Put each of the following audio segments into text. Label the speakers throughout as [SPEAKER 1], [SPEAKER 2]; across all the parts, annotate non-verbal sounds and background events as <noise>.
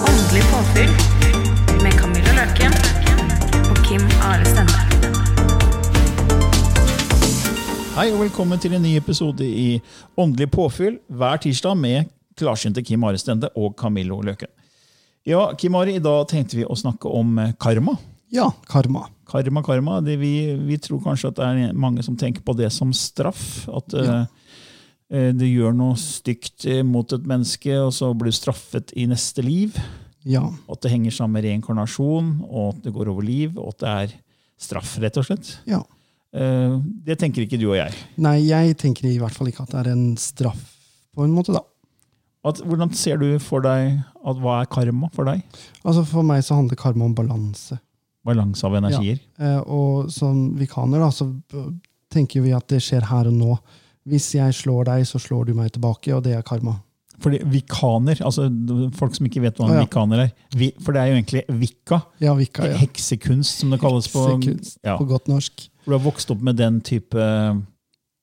[SPEAKER 1] Åndelig påfyll med Camilla Løken og Kim Are Stende.
[SPEAKER 2] Hei og velkommen til en ny episode i Åndelig påfyll hver tirsdag med klarsynte Kim Are Stende og Camillo Løken. Ja, Kim Are, i dag tenkte vi å snakke om eh, karma.
[SPEAKER 3] Ja, karma.
[SPEAKER 2] Karma, karma. Det vi, vi tror kanskje at det er mange som tenker på det som straff. At eh, eh, du gjør noe stygt eh, mot et menneske, og så blir du straffet i neste liv.
[SPEAKER 3] Ja.
[SPEAKER 2] Og At det henger sammen med reinkarnasjon, og at det går over liv, og at det er straff, rett og slett.
[SPEAKER 3] ja.
[SPEAKER 2] Eh, det tenker ikke du og jeg.
[SPEAKER 3] Nei, jeg tenker i hvert fall ikke at det er en straff, på en måte, da.
[SPEAKER 2] At, hvordan ser du for deg at hva er karma for deg?
[SPEAKER 3] Altså For meg så handler karma om balanse.
[SPEAKER 2] Balanse av energier.
[SPEAKER 3] Eh, og som vikaner, da, så b- tenker vi at det skjer her og nå. Hvis jeg slår deg, så slår du meg tilbake, og det er karma.
[SPEAKER 2] Fordi vikaner, altså d- folk som ikke vet hva en
[SPEAKER 3] Å, ja.
[SPEAKER 2] vikaner er vi, For det er jo egentlig vikka.
[SPEAKER 3] Ja, vika, ja.
[SPEAKER 2] Heksekunst, som det kalles på
[SPEAKER 3] Sekund,
[SPEAKER 2] ja.
[SPEAKER 3] på godt norsk.
[SPEAKER 2] Du har vokst opp med den type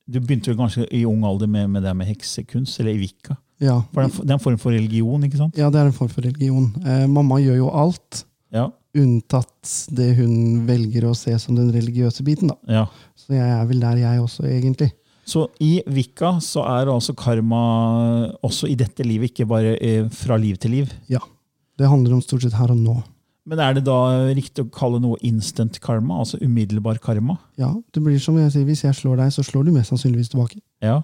[SPEAKER 2] Du begynte jo kanskje i ung alder med, med det med heksekunst, eller vikka.
[SPEAKER 3] Ja.
[SPEAKER 2] For det er en f- det er en form for religion, ikke sant?
[SPEAKER 3] ja, det er en form for religion. Eh, mamma gjør jo alt,
[SPEAKER 2] Ja.
[SPEAKER 3] unntatt det hun velger å se som den religiøse biten, da.
[SPEAKER 2] ja.
[SPEAKER 3] Så jeg er vel der, jeg også, egentlig.
[SPEAKER 2] Så i vikka så er altså karma også i dette livet, ikke bare eh, fra liv til liv.
[SPEAKER 3] Ja. Det handler om stort sett her og nå.
[SPEAKER 2] Men er det da riktig å kalle noe instant karma, altså umiddelbar karma?
[SPEAKER 3] Ja, det blir som jeg sier, hvis jeg slår deg, så slår du mest sannsynligvis tilbake.
[SPEAKER 2] Ja.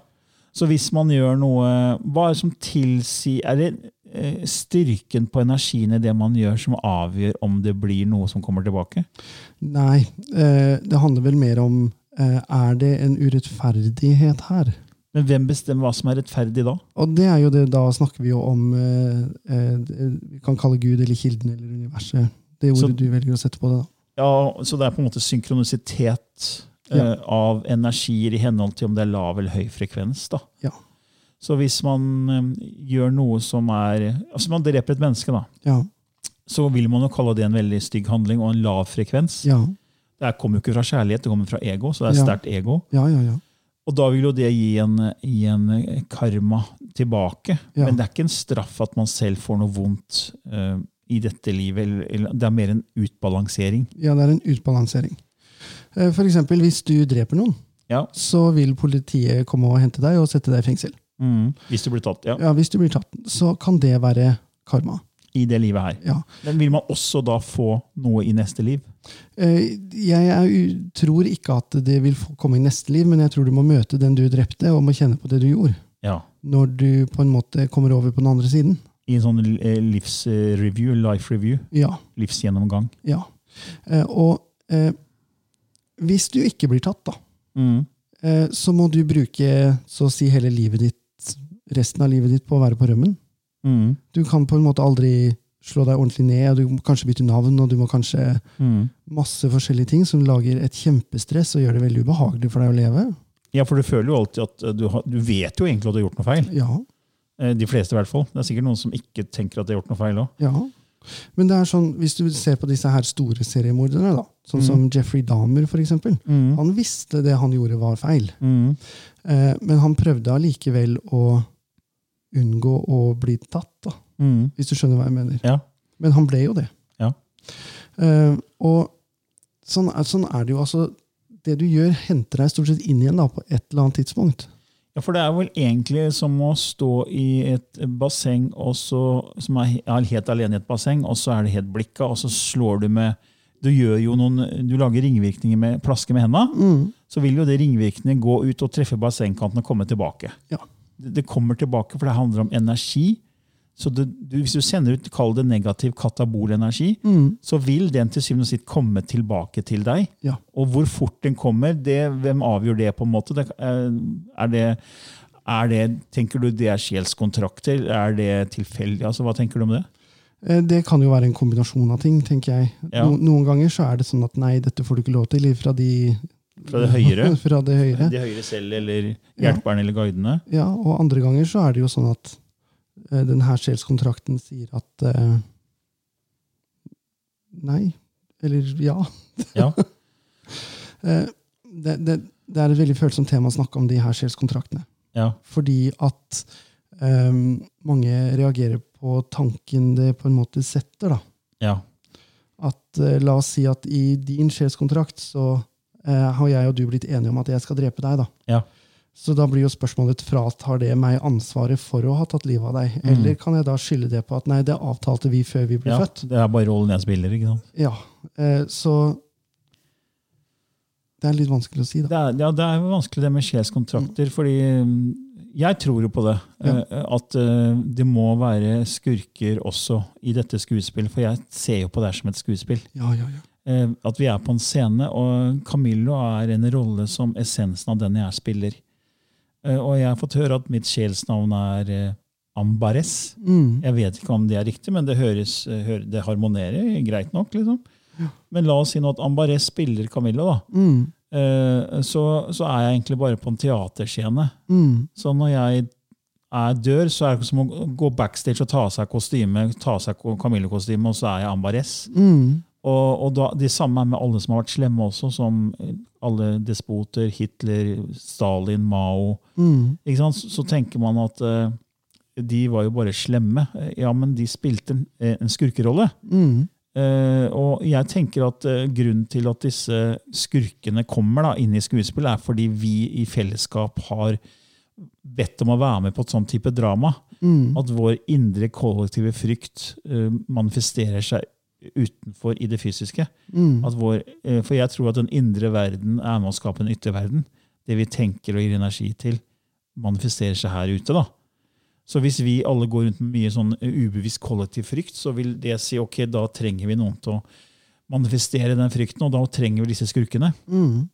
[SPEAKER 2] Så hvis man gjør noe Hva er det som tilsier Er det eh, styrken på energien i det man gjør, som avgjør om det blir noe som kommer tilbake?
[SPEAKER 3] Nei, eh, det handler vel mer om eh, er det en urettferdighet her?
[SPEAKER 2] Men hvem bestemmer hva som er rettferdig da?
[SPEAKER 3] Og det er jo det, da snakker vi jo om eh, eh, det- Vi kan kalle Gud eller Kilden eller universet. Det
[SPEAKER 2] Så-
[SPEAKER 3] ordet du velger å sette på det, da.
[SPEAKER 2] Ja, Så det er på en måte synkronisitet eh,
[SPEAKER 3] Ja.
[SPEAKER 2] av energier i henhold til om det er lav eller høy frekvens. da.
[SPEAKER 3] Ja.
[SPEAKER 2] Så hvis man eh, gjør noe som er Altså man dreper et menneske, da.
[SPEAKER 3] Ja.
[SPEAKER 2] Så vil man jo kalle det en veldig stygg handling og en lav frekvens.
[SPEAKER 3] Ja,
[SPEAKER 2] Det her kommer jo ikke fra kjærlighet, det kommer fra ego. så det er
[SPEAKER 3] Ja.
[SPEAKER 2] sterkt ego.
[SPEAKER 3] ja, ja. ja.
[SPEAKER 2] Og da vil jo det gi en, gi en eh, karma tilbake.
[SPEAKER 3] Ja.
[SPEAKER 2] Men det er ikke en straff at man selv får noe vondt eh, i dette livet. Eller, eller, det er mer en utbalansering.
[SPEAKER 3] ja det er en utbalansering. Eh, for eksempel, hvis du dreper noen,
[SPEAKER 2] Ja.
[SPEAKER 3] så vil politiet komme og hente deg og sette deg i fengsel.
[SPEAKER 2] Mm. Hvis du blir tatt. Ja.
[SPEAKER 3] Ja, Hvis du blir tatt, så kan det være karma.
[SPEAKER 2] I det livet her.
[SPEAKER 3] Ja.
[SPEAKER 2] Men vil man også da få noe i neste liv?
[SPEAKER 3] Eh, Jeg er, u- tror ikke at det vil få- komme i neste liv, men jeg tror du må møte den du drepte, og må kjenne på det du gjorde.
[SPEAKER 2] Ja.
[SPEAKER 3] Når du på en måte kommer over på den andre siden.
[SPEAKER 2] I en sånn eh, livsreview, life review,
[SPEAKER 3] Ja.
[SPEAKER 2] livsgjennomgang.
[SPEAKER 3] ja. Eh, Og eh, hvis du ikke blir tatt, da,
[SPEAKER 2] Mm.
[SPEAKER 3] eh, så må du bruke så å si hele livet ditt, resten av livet ditt, på å være på rømmen.
[SPEAKER 2] Mm.
[SPEAKER 3] Du kan på en måte aldri slå deg ordentlig ned, og du må kanskje bytte navn, og du må kanskje
[SPEAKER 2] Mm.
[SPEAKER 3] masse forskjellige ting som lager et kjempestress og gjør det veldig ubehagelig for deg å leve.
[SPEAKER 2] Ja, for du føler jo alltid at eh, du, har, du vet jo egentlig at du har gjort noe feil.
[SPEAKER 3] Ja.
[SPEAKER 2] Eh, De fleste i hvert fall. Det er sikkert noen som ikke tenker at de har gjort noe feil òg.
[SPEAKER 3] Ja. Men det er sånn, hvis du ser på disse her store seriemorderne, da, sånn
[SPEAKER 2] Mm.
[SPEAKER 3] som Jeffrey Dahmer for eksempel, han visste det han gjorde var feil,
[SPEAKER 2] Mm.
[SPEAKER 3] eh, men han prøvde allikevel å unngå å bli tatt, da,
[SPEAKER 2] Mm.
[SPEAKER 3] hvis du skjønner hva jeg mener.
[SPEAKER 2] Ja.
[SPEAKER 3] Men han ble jo det.
[SPEAKER 2] Ja.
[SPEAKER 3] Eh, og sånn er, sånn er det jo. altså, Det du gjør, henter deg stort sett inn igjen da, på et eller annet tidspunkt.
[SPEAKER 2] Ja, for det er vel egentlig som å stå i et basseng og så, som er he- er helt alene i et basseng, og så er det helt blikka, og så slår du med Du gjør jo noen, du lager ringvirkninger med plasker med henda. Så vil jo det ringvirkningene gå ut og treffe bassengkanten og komme tilbake.
[SPEAKER 3] Ja.
[SPEAKER 2] Det det kommer tilbake, for det handler om energi. Så det, du, hvis du sender ut, kall det negativ katabolenergi, så vil den til syvende og sist komme tilbake til deg.
[SPEAKER 3] Ja.
[SPEAKER 2] Og hvor fort den kommer, det, hvem avgjør det, på en måte? Det, eh, er det, er det, tenker du det er sjelskontrakter? Er det tilfeldig? Altså, hva tenker du om det?
[SPEAKER 3] Eh, Det kan jo være en kombinasjon av ting, tenker jeg.
[SPEAKER 2] Ja.
[SPEAKER 3] No, noen ganger så er det sånn at nei, dette får du ikke lov til fra de
[SPEAKER 2] Fra det høyere?
[SPEAKER 3] Eh, <laughs> fra det høyere.
[SPEAKER 2] De høyere selv, eller hjelperne, eller guidene?
[SPEAKER 3] Ja, og andre ganger så er det jo sånn at eh, den her sjelskontrakten sier at eh, Nei. Eller ja.
[SPEAKER 2] Ja.
[SPEAKER 3] Eh, det, det, det er et veldig følsomt tema å snakke om de her sjelskontraktene.
[SPEAKER 2] ja.
[SPEAKER 3] Fordi at eh, mange reagerer på tanken det på en måte setter, da.
[SPEAKER 2] ja.
[SPEAKER 3] At eh, la oss si at i din sjelskontrakt så eh, har jeg og du blitt enige om at jeg skal drepe deg, da.
[SPEAKER 2] Ja.
[SPEAKER 3] Så da blir jo spørsmålet fratar det meg ansvaret for å ha tatt livet av deg? Eller kan jeg da skylde det på at nei, det avtalte vi før vi ble
[SPEAKER 2] Mm. ja.
[SPEAKER 3] født?
[SPEAKER 2] Det er bare rollen jeg spiller. ikke sant?
[SPEAKER 3] Ja, eh, Så det er litt vanskelig å si, da.
[SPEAKER 2] Det er, ja, det er jo vanskelig det med sjelskontrakter, fordi mm, jeg tror jo på det.
[SPEAKER 3] Ja.
[SPEAKER 2] eh, At eh, det må være skurker også i dette skuespillet, for jeg ser jo på det her som et skuespill.
[SPEAKER 3] Ja, ja, ja.
[SPEAKER 2] Eh, At vi er på en scene, og Camillo er en rolle som essensen av den jeg spiller. Eh, Og jeg har fått høre at mitt sjelsnavn er eh, Ambares.
[SPEAKER 3] Mm.
[SPEAKER 2] Jeg vet ikke om det er riktig, men det, høres, eh, hø- det harmonerer greit nok. liksom. Men la oss si nå at Ambares spiller Camillo, da.
[SPEAKER 3] Mm.
[SPEAKER 2] Eh, så, så er jeg egentlig bare på en teaterscene.
[SPEAKER 3] Mm.
[SPEAKER 2] Så når jeg er dør, så er det som å gå backstage og ta av seg kostyme, ta av seg ko- Camillo-kostyme, og så er jeg Ambares.
[SPEAKER 3] Mm.
[SPEAKER 2] Og, og da, de samme er med alle som har vært slemme også, som alle despoter, Hitler, Stalin, Mao.
[SPEAKER 3] Mm.
[SPEAKER 2] Ikke sant? Så, så tenker man at eh, de var jo bare slemme. Eh, Ja, men de spilte en, eh, en skurkerolle.
[SPEAKER 3] Mm.
[SPEAKER 2] Eh, og jeg tenker at eh, grunnen til at disse skurkene kommer da, inn i skuespillet, er fordi vi i fellesskap har bedt om å være med på et sånt type drama.
[SPEAKER 3] Mm.
[SPEAKER 2] At vår indre kollektive frykt eh, manifesterer seg utenfor i det fysiske.
[SPEAKER 3] Mm.
[SPEAKER 2] At vår, eh, for jeg tror at den indre verden er med å skape en ytterverden. Det vi tenker og gir energi til, manifesterer seg her ute. da. Så hvis vi alle går rundt med mye sånn ubevisst kollektiv frykt, så vil det si ok, da trenger vi noen til å manifestere den frykten, og da trenger vi disse skurkene.
[SPEAKER 3] Mm.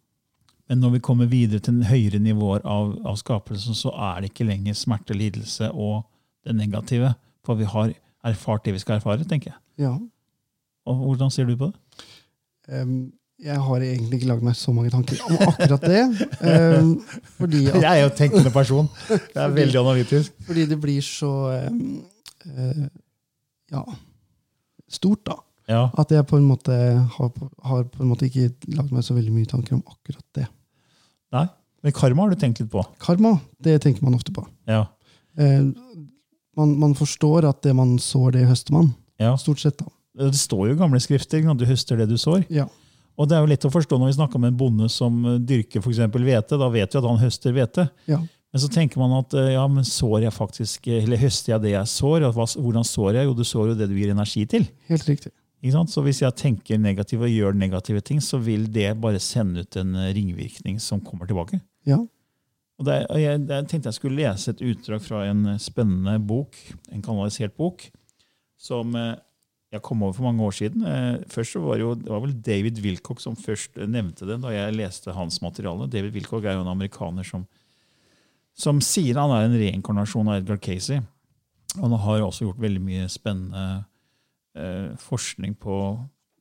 [SPEAKER 2] Men når vi kommer videre til den høyere nivåer av, av skapelsen, så er det ikke lenger smerte, lidelse og det negative. For vi har erfart det vi skal erfare, tenker jeg.
[SPEAKER 3] Ja.
[SPEAKER 2] Og Hvordan ser du <laughs> på det?
[SPEAKER 3] Em, jeg har egentlig ikke lagd meg så mange tanker om akkurat det.
[SPEAKER 2] <laughs>
[SPEAKER 3] em, fordi at
[SPEAKER 2] er jo tenkende person. Jeg er veldig analytisk.
[SPEAKER 3] Fordi det blir så em, eh, ja, stort, da.
[SPEAKER 2] Ja,
[SPEAKER 3] At jeg på en måte har, på- har på en måte ikke lagd meg så veldig mye tanker om akkurat det.
[SPEAKER 2] nei. Men karma har du tenkt litt på.
[SPEAKER 3] Karma, det tenker man ofte på.
[SPEAKER 2] Ja.
[SPEAKER 3] Eh, man, man forstår at det man sår, det høster man.
[SPEAKER 2] ja.
[SPEAKER 3] Stort sett, da.
[SPEAKER 2] Det står jo i gamle skrifter ikke sant? du høster det du sår.
[SPEAKER 3] Ja.
[SPEAKER 2] Og det er jo lett å forstå når vi snakker om en bonde som eh, dyrker for eksempel hvete. Da vet vi at han høster hvete.
[SPEAKER 3] ja.
[SPEAKER 2] Men så tenker man at eh, ja, men sår jeg faktisk, eh, eller høster jeg det jeg sår? Og hva- Hvordan sår jeg? Jo, du sår jo det du gir energi til.
[SPEAKER 3] Helt riktig.
[SPEAKER 2] Ikke sant? Så hvis jeg tenker negativt og gjør negative ting, så vil det bare sende ut en eh, ringvirkning som kommer tilbake.
[SPEAKER 3] Ja.
[SPEAKER 2] Og det, og jeg, det, jeg tenkte jeg skulle lese et utdrag fra en eh, spennende bok, en kanalisert bok, som eh, jeg kom over for mange år siden. Eh, Først så var det jo, Det var vel David Wilcock som først eh, nevnte det da jeg leste hans materiale. David Wilcock er jo en amerikaner som, som sier han er en reinkarnasjon av Edgar Casey. Og han har også gjort veldig mye spennende eh, forskning på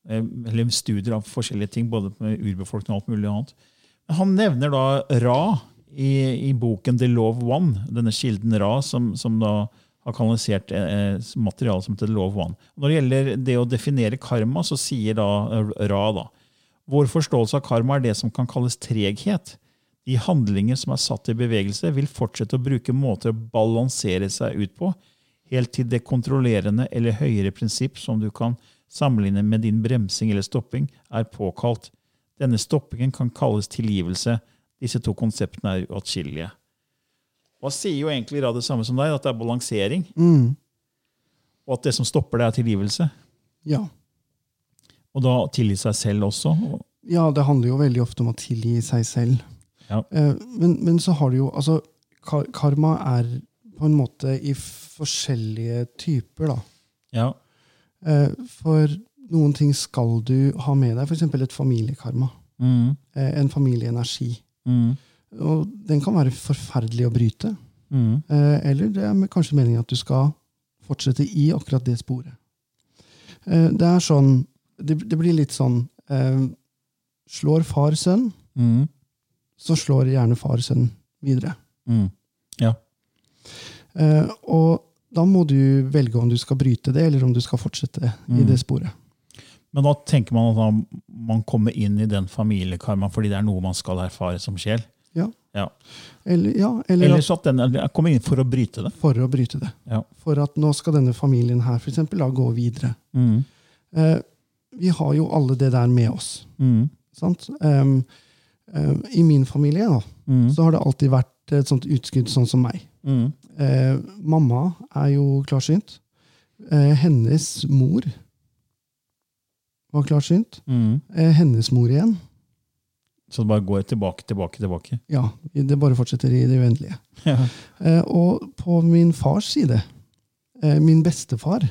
[SPEAKER 2] eh, eller studier av forskjellige ting, både med urbefolkning og alt mulig annet. Han nevner da Ra i, i boken The Law of One, denne kilden Ra, som, som da har kanalisert eh, eh, materiale som heter The Law of One. Når det gjelder det å definere karma, så sier da eh, Ra da vår forståelse av karma er det som kan kalles treghet. De handlinger som er satt i bevegelse, vil fortsette å bruke måter å balansere seg ut på, helt til det kontrollerende eller høyere prinsipp som du kan sammenligne med din bremsing eller stopping, er påkalt. Denne stoppingen kan kalles tilgivelse. Disse to konseptene er uatskillelige. Og han sier jo egentlig i grad det samme som deg, at det er balansering.
[SPEAKER 3] Mm.
[SPEAKER 2] Og at det som stopper det, er tilgivelse.
[SPEAKER 3] Ja.
[SPEAKER 2] Og da tilgi seg selv også. Og,
[SPEAKER 3] ja, det handler jo veldig ofte om å tilgi seg selv.
[SPEAKER 2] Ja.
[SPEAKER 3] Eh, Men, men så har du jo altså, ka- Karma er på en måte i forskjellige typer, da.
[SPEAKER 2] ja.
[SPEAKER 3] Eh, For noen ting skal du ha med deg, f.eks. et familiekarma.
[SPEAKER 2] Mm,
[SPEAKER 3] eh, En familieenergi.
[SPEAKER 2] mm,
[SPEAKER 3] Og den kan være forferdelig å bryte.
[SPEAKER 2] mm.
[SPEAKER 3] Eh, Eller det er kanskje meningen at du skal fortsette i akkurat det sporet. Eh, Det er sånn Det, det blir litt sånn eh, Slår far sønn,
[SPEAKER 2] Mm.
[SPEAKER 3] så slår gjerne far sønn videre.
[SPEAKER 2] Mm. Ja.
[SPEAKER 3] Eh, Og da må du velge om du skal bryte det, eller om du skal fortsette i
[SPEAKER 2] Mm.
[SPEAKER 3] det sporet.
[SPEAKER 2] Men da tenker man at da man kommer inn i den familiekarmaen fordi det er noe man skal erfare som sjel.
[SPEAKER 3] Ja.
[SPEAKER 2] Ja.
[SPEAKER 3] Eller, ja, eller
[SPEAKER 2] Eller så at den er- kommer inn for å bryte det.
[SPEAKER 3] at for å bryte det.
[SPEAKER 2] Ja.
[SPEAKER 3] For at nå skal denne familien her for eksempel, da gå videre.
[SPEAKER 2] Mm.
[SPEAKER 3] Eh, Vi har jo alle det der med oss.
[SPEAKER 2] Mm.
[SPEAKER 3] Sant? Em, em, I min familie da,
[SPEAKER 2] Mm.
[SPEAKER 3] så har det alltid vært et sånt utskudd sånn som meg.
[SPEAKER 2] Mm.
[SPEAKER 3] Eh, mamma er jo klarsynt. Eh, hennes mor var klarsynt.
[SPEAKER 2] Mm.
[SPEAKER 3] Eh, hennes mor igjen.
[SPEAKER 2] Så det bare går tilbake, tilbake, tilbake.
[SPEAKER 3] Ja, det bare fortsetter i det uendelige.
[SPEAKER 2] <laughs> Ja.
[SPEAKER 3] Eh, og på min fars side, eh, min bestefar,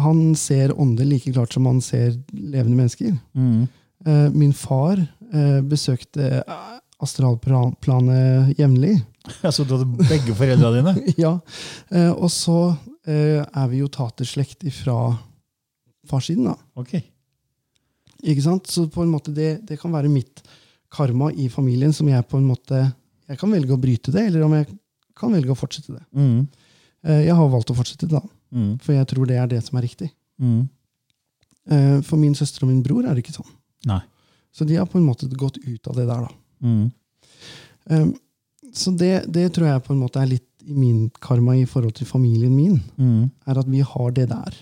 [SPEAKER 3] han ser ånder like klart som han ser levende mennesker.
[SPEAKER 2] Mm.
[SPEAKER 3] Eh, min far eh, besøkte eh, astralplanet jevnlig. <laughs>
[SPEAKER 2] Så du hadde begge foreldra dine?
[SPEAKER 3] Ja, eh, og så eh, er vi jo taterslekt ifra farssiden, da.
[SPEAKER 2] Ok.
[SPEAKER 3] Ikke sant? Så på en måte det, det kan være mitt karma i familien som jeg på en måte Jeg kan velge å bryte det, eller om jeg kan velge å fortsette det.
[SPEAKER 2] Mm.
[SPEAKER 3] Eh, jeg har valgt å fortsette det, da,
[SPEAKER 2] Mm.
[SPEAKER 3] for jeg tror det er det som er riktig.
[SPEAKER 2] Mm.
[SPEAKER 3] Eh, for min søster og min bror er det ikke sånn.
[SPEAKER 2] Nei.
[SPEAKER 3] Så de har på en måte gått ut av det der, da.
[SPEAKER 2] Mm.
[SPEAKER 3] Eh, så det, det tror jeg på en måte er litt i min karma i forhold til familien min,
[SPEAKER 2] Mm.
[SPEAKER 3] er at vi har det der.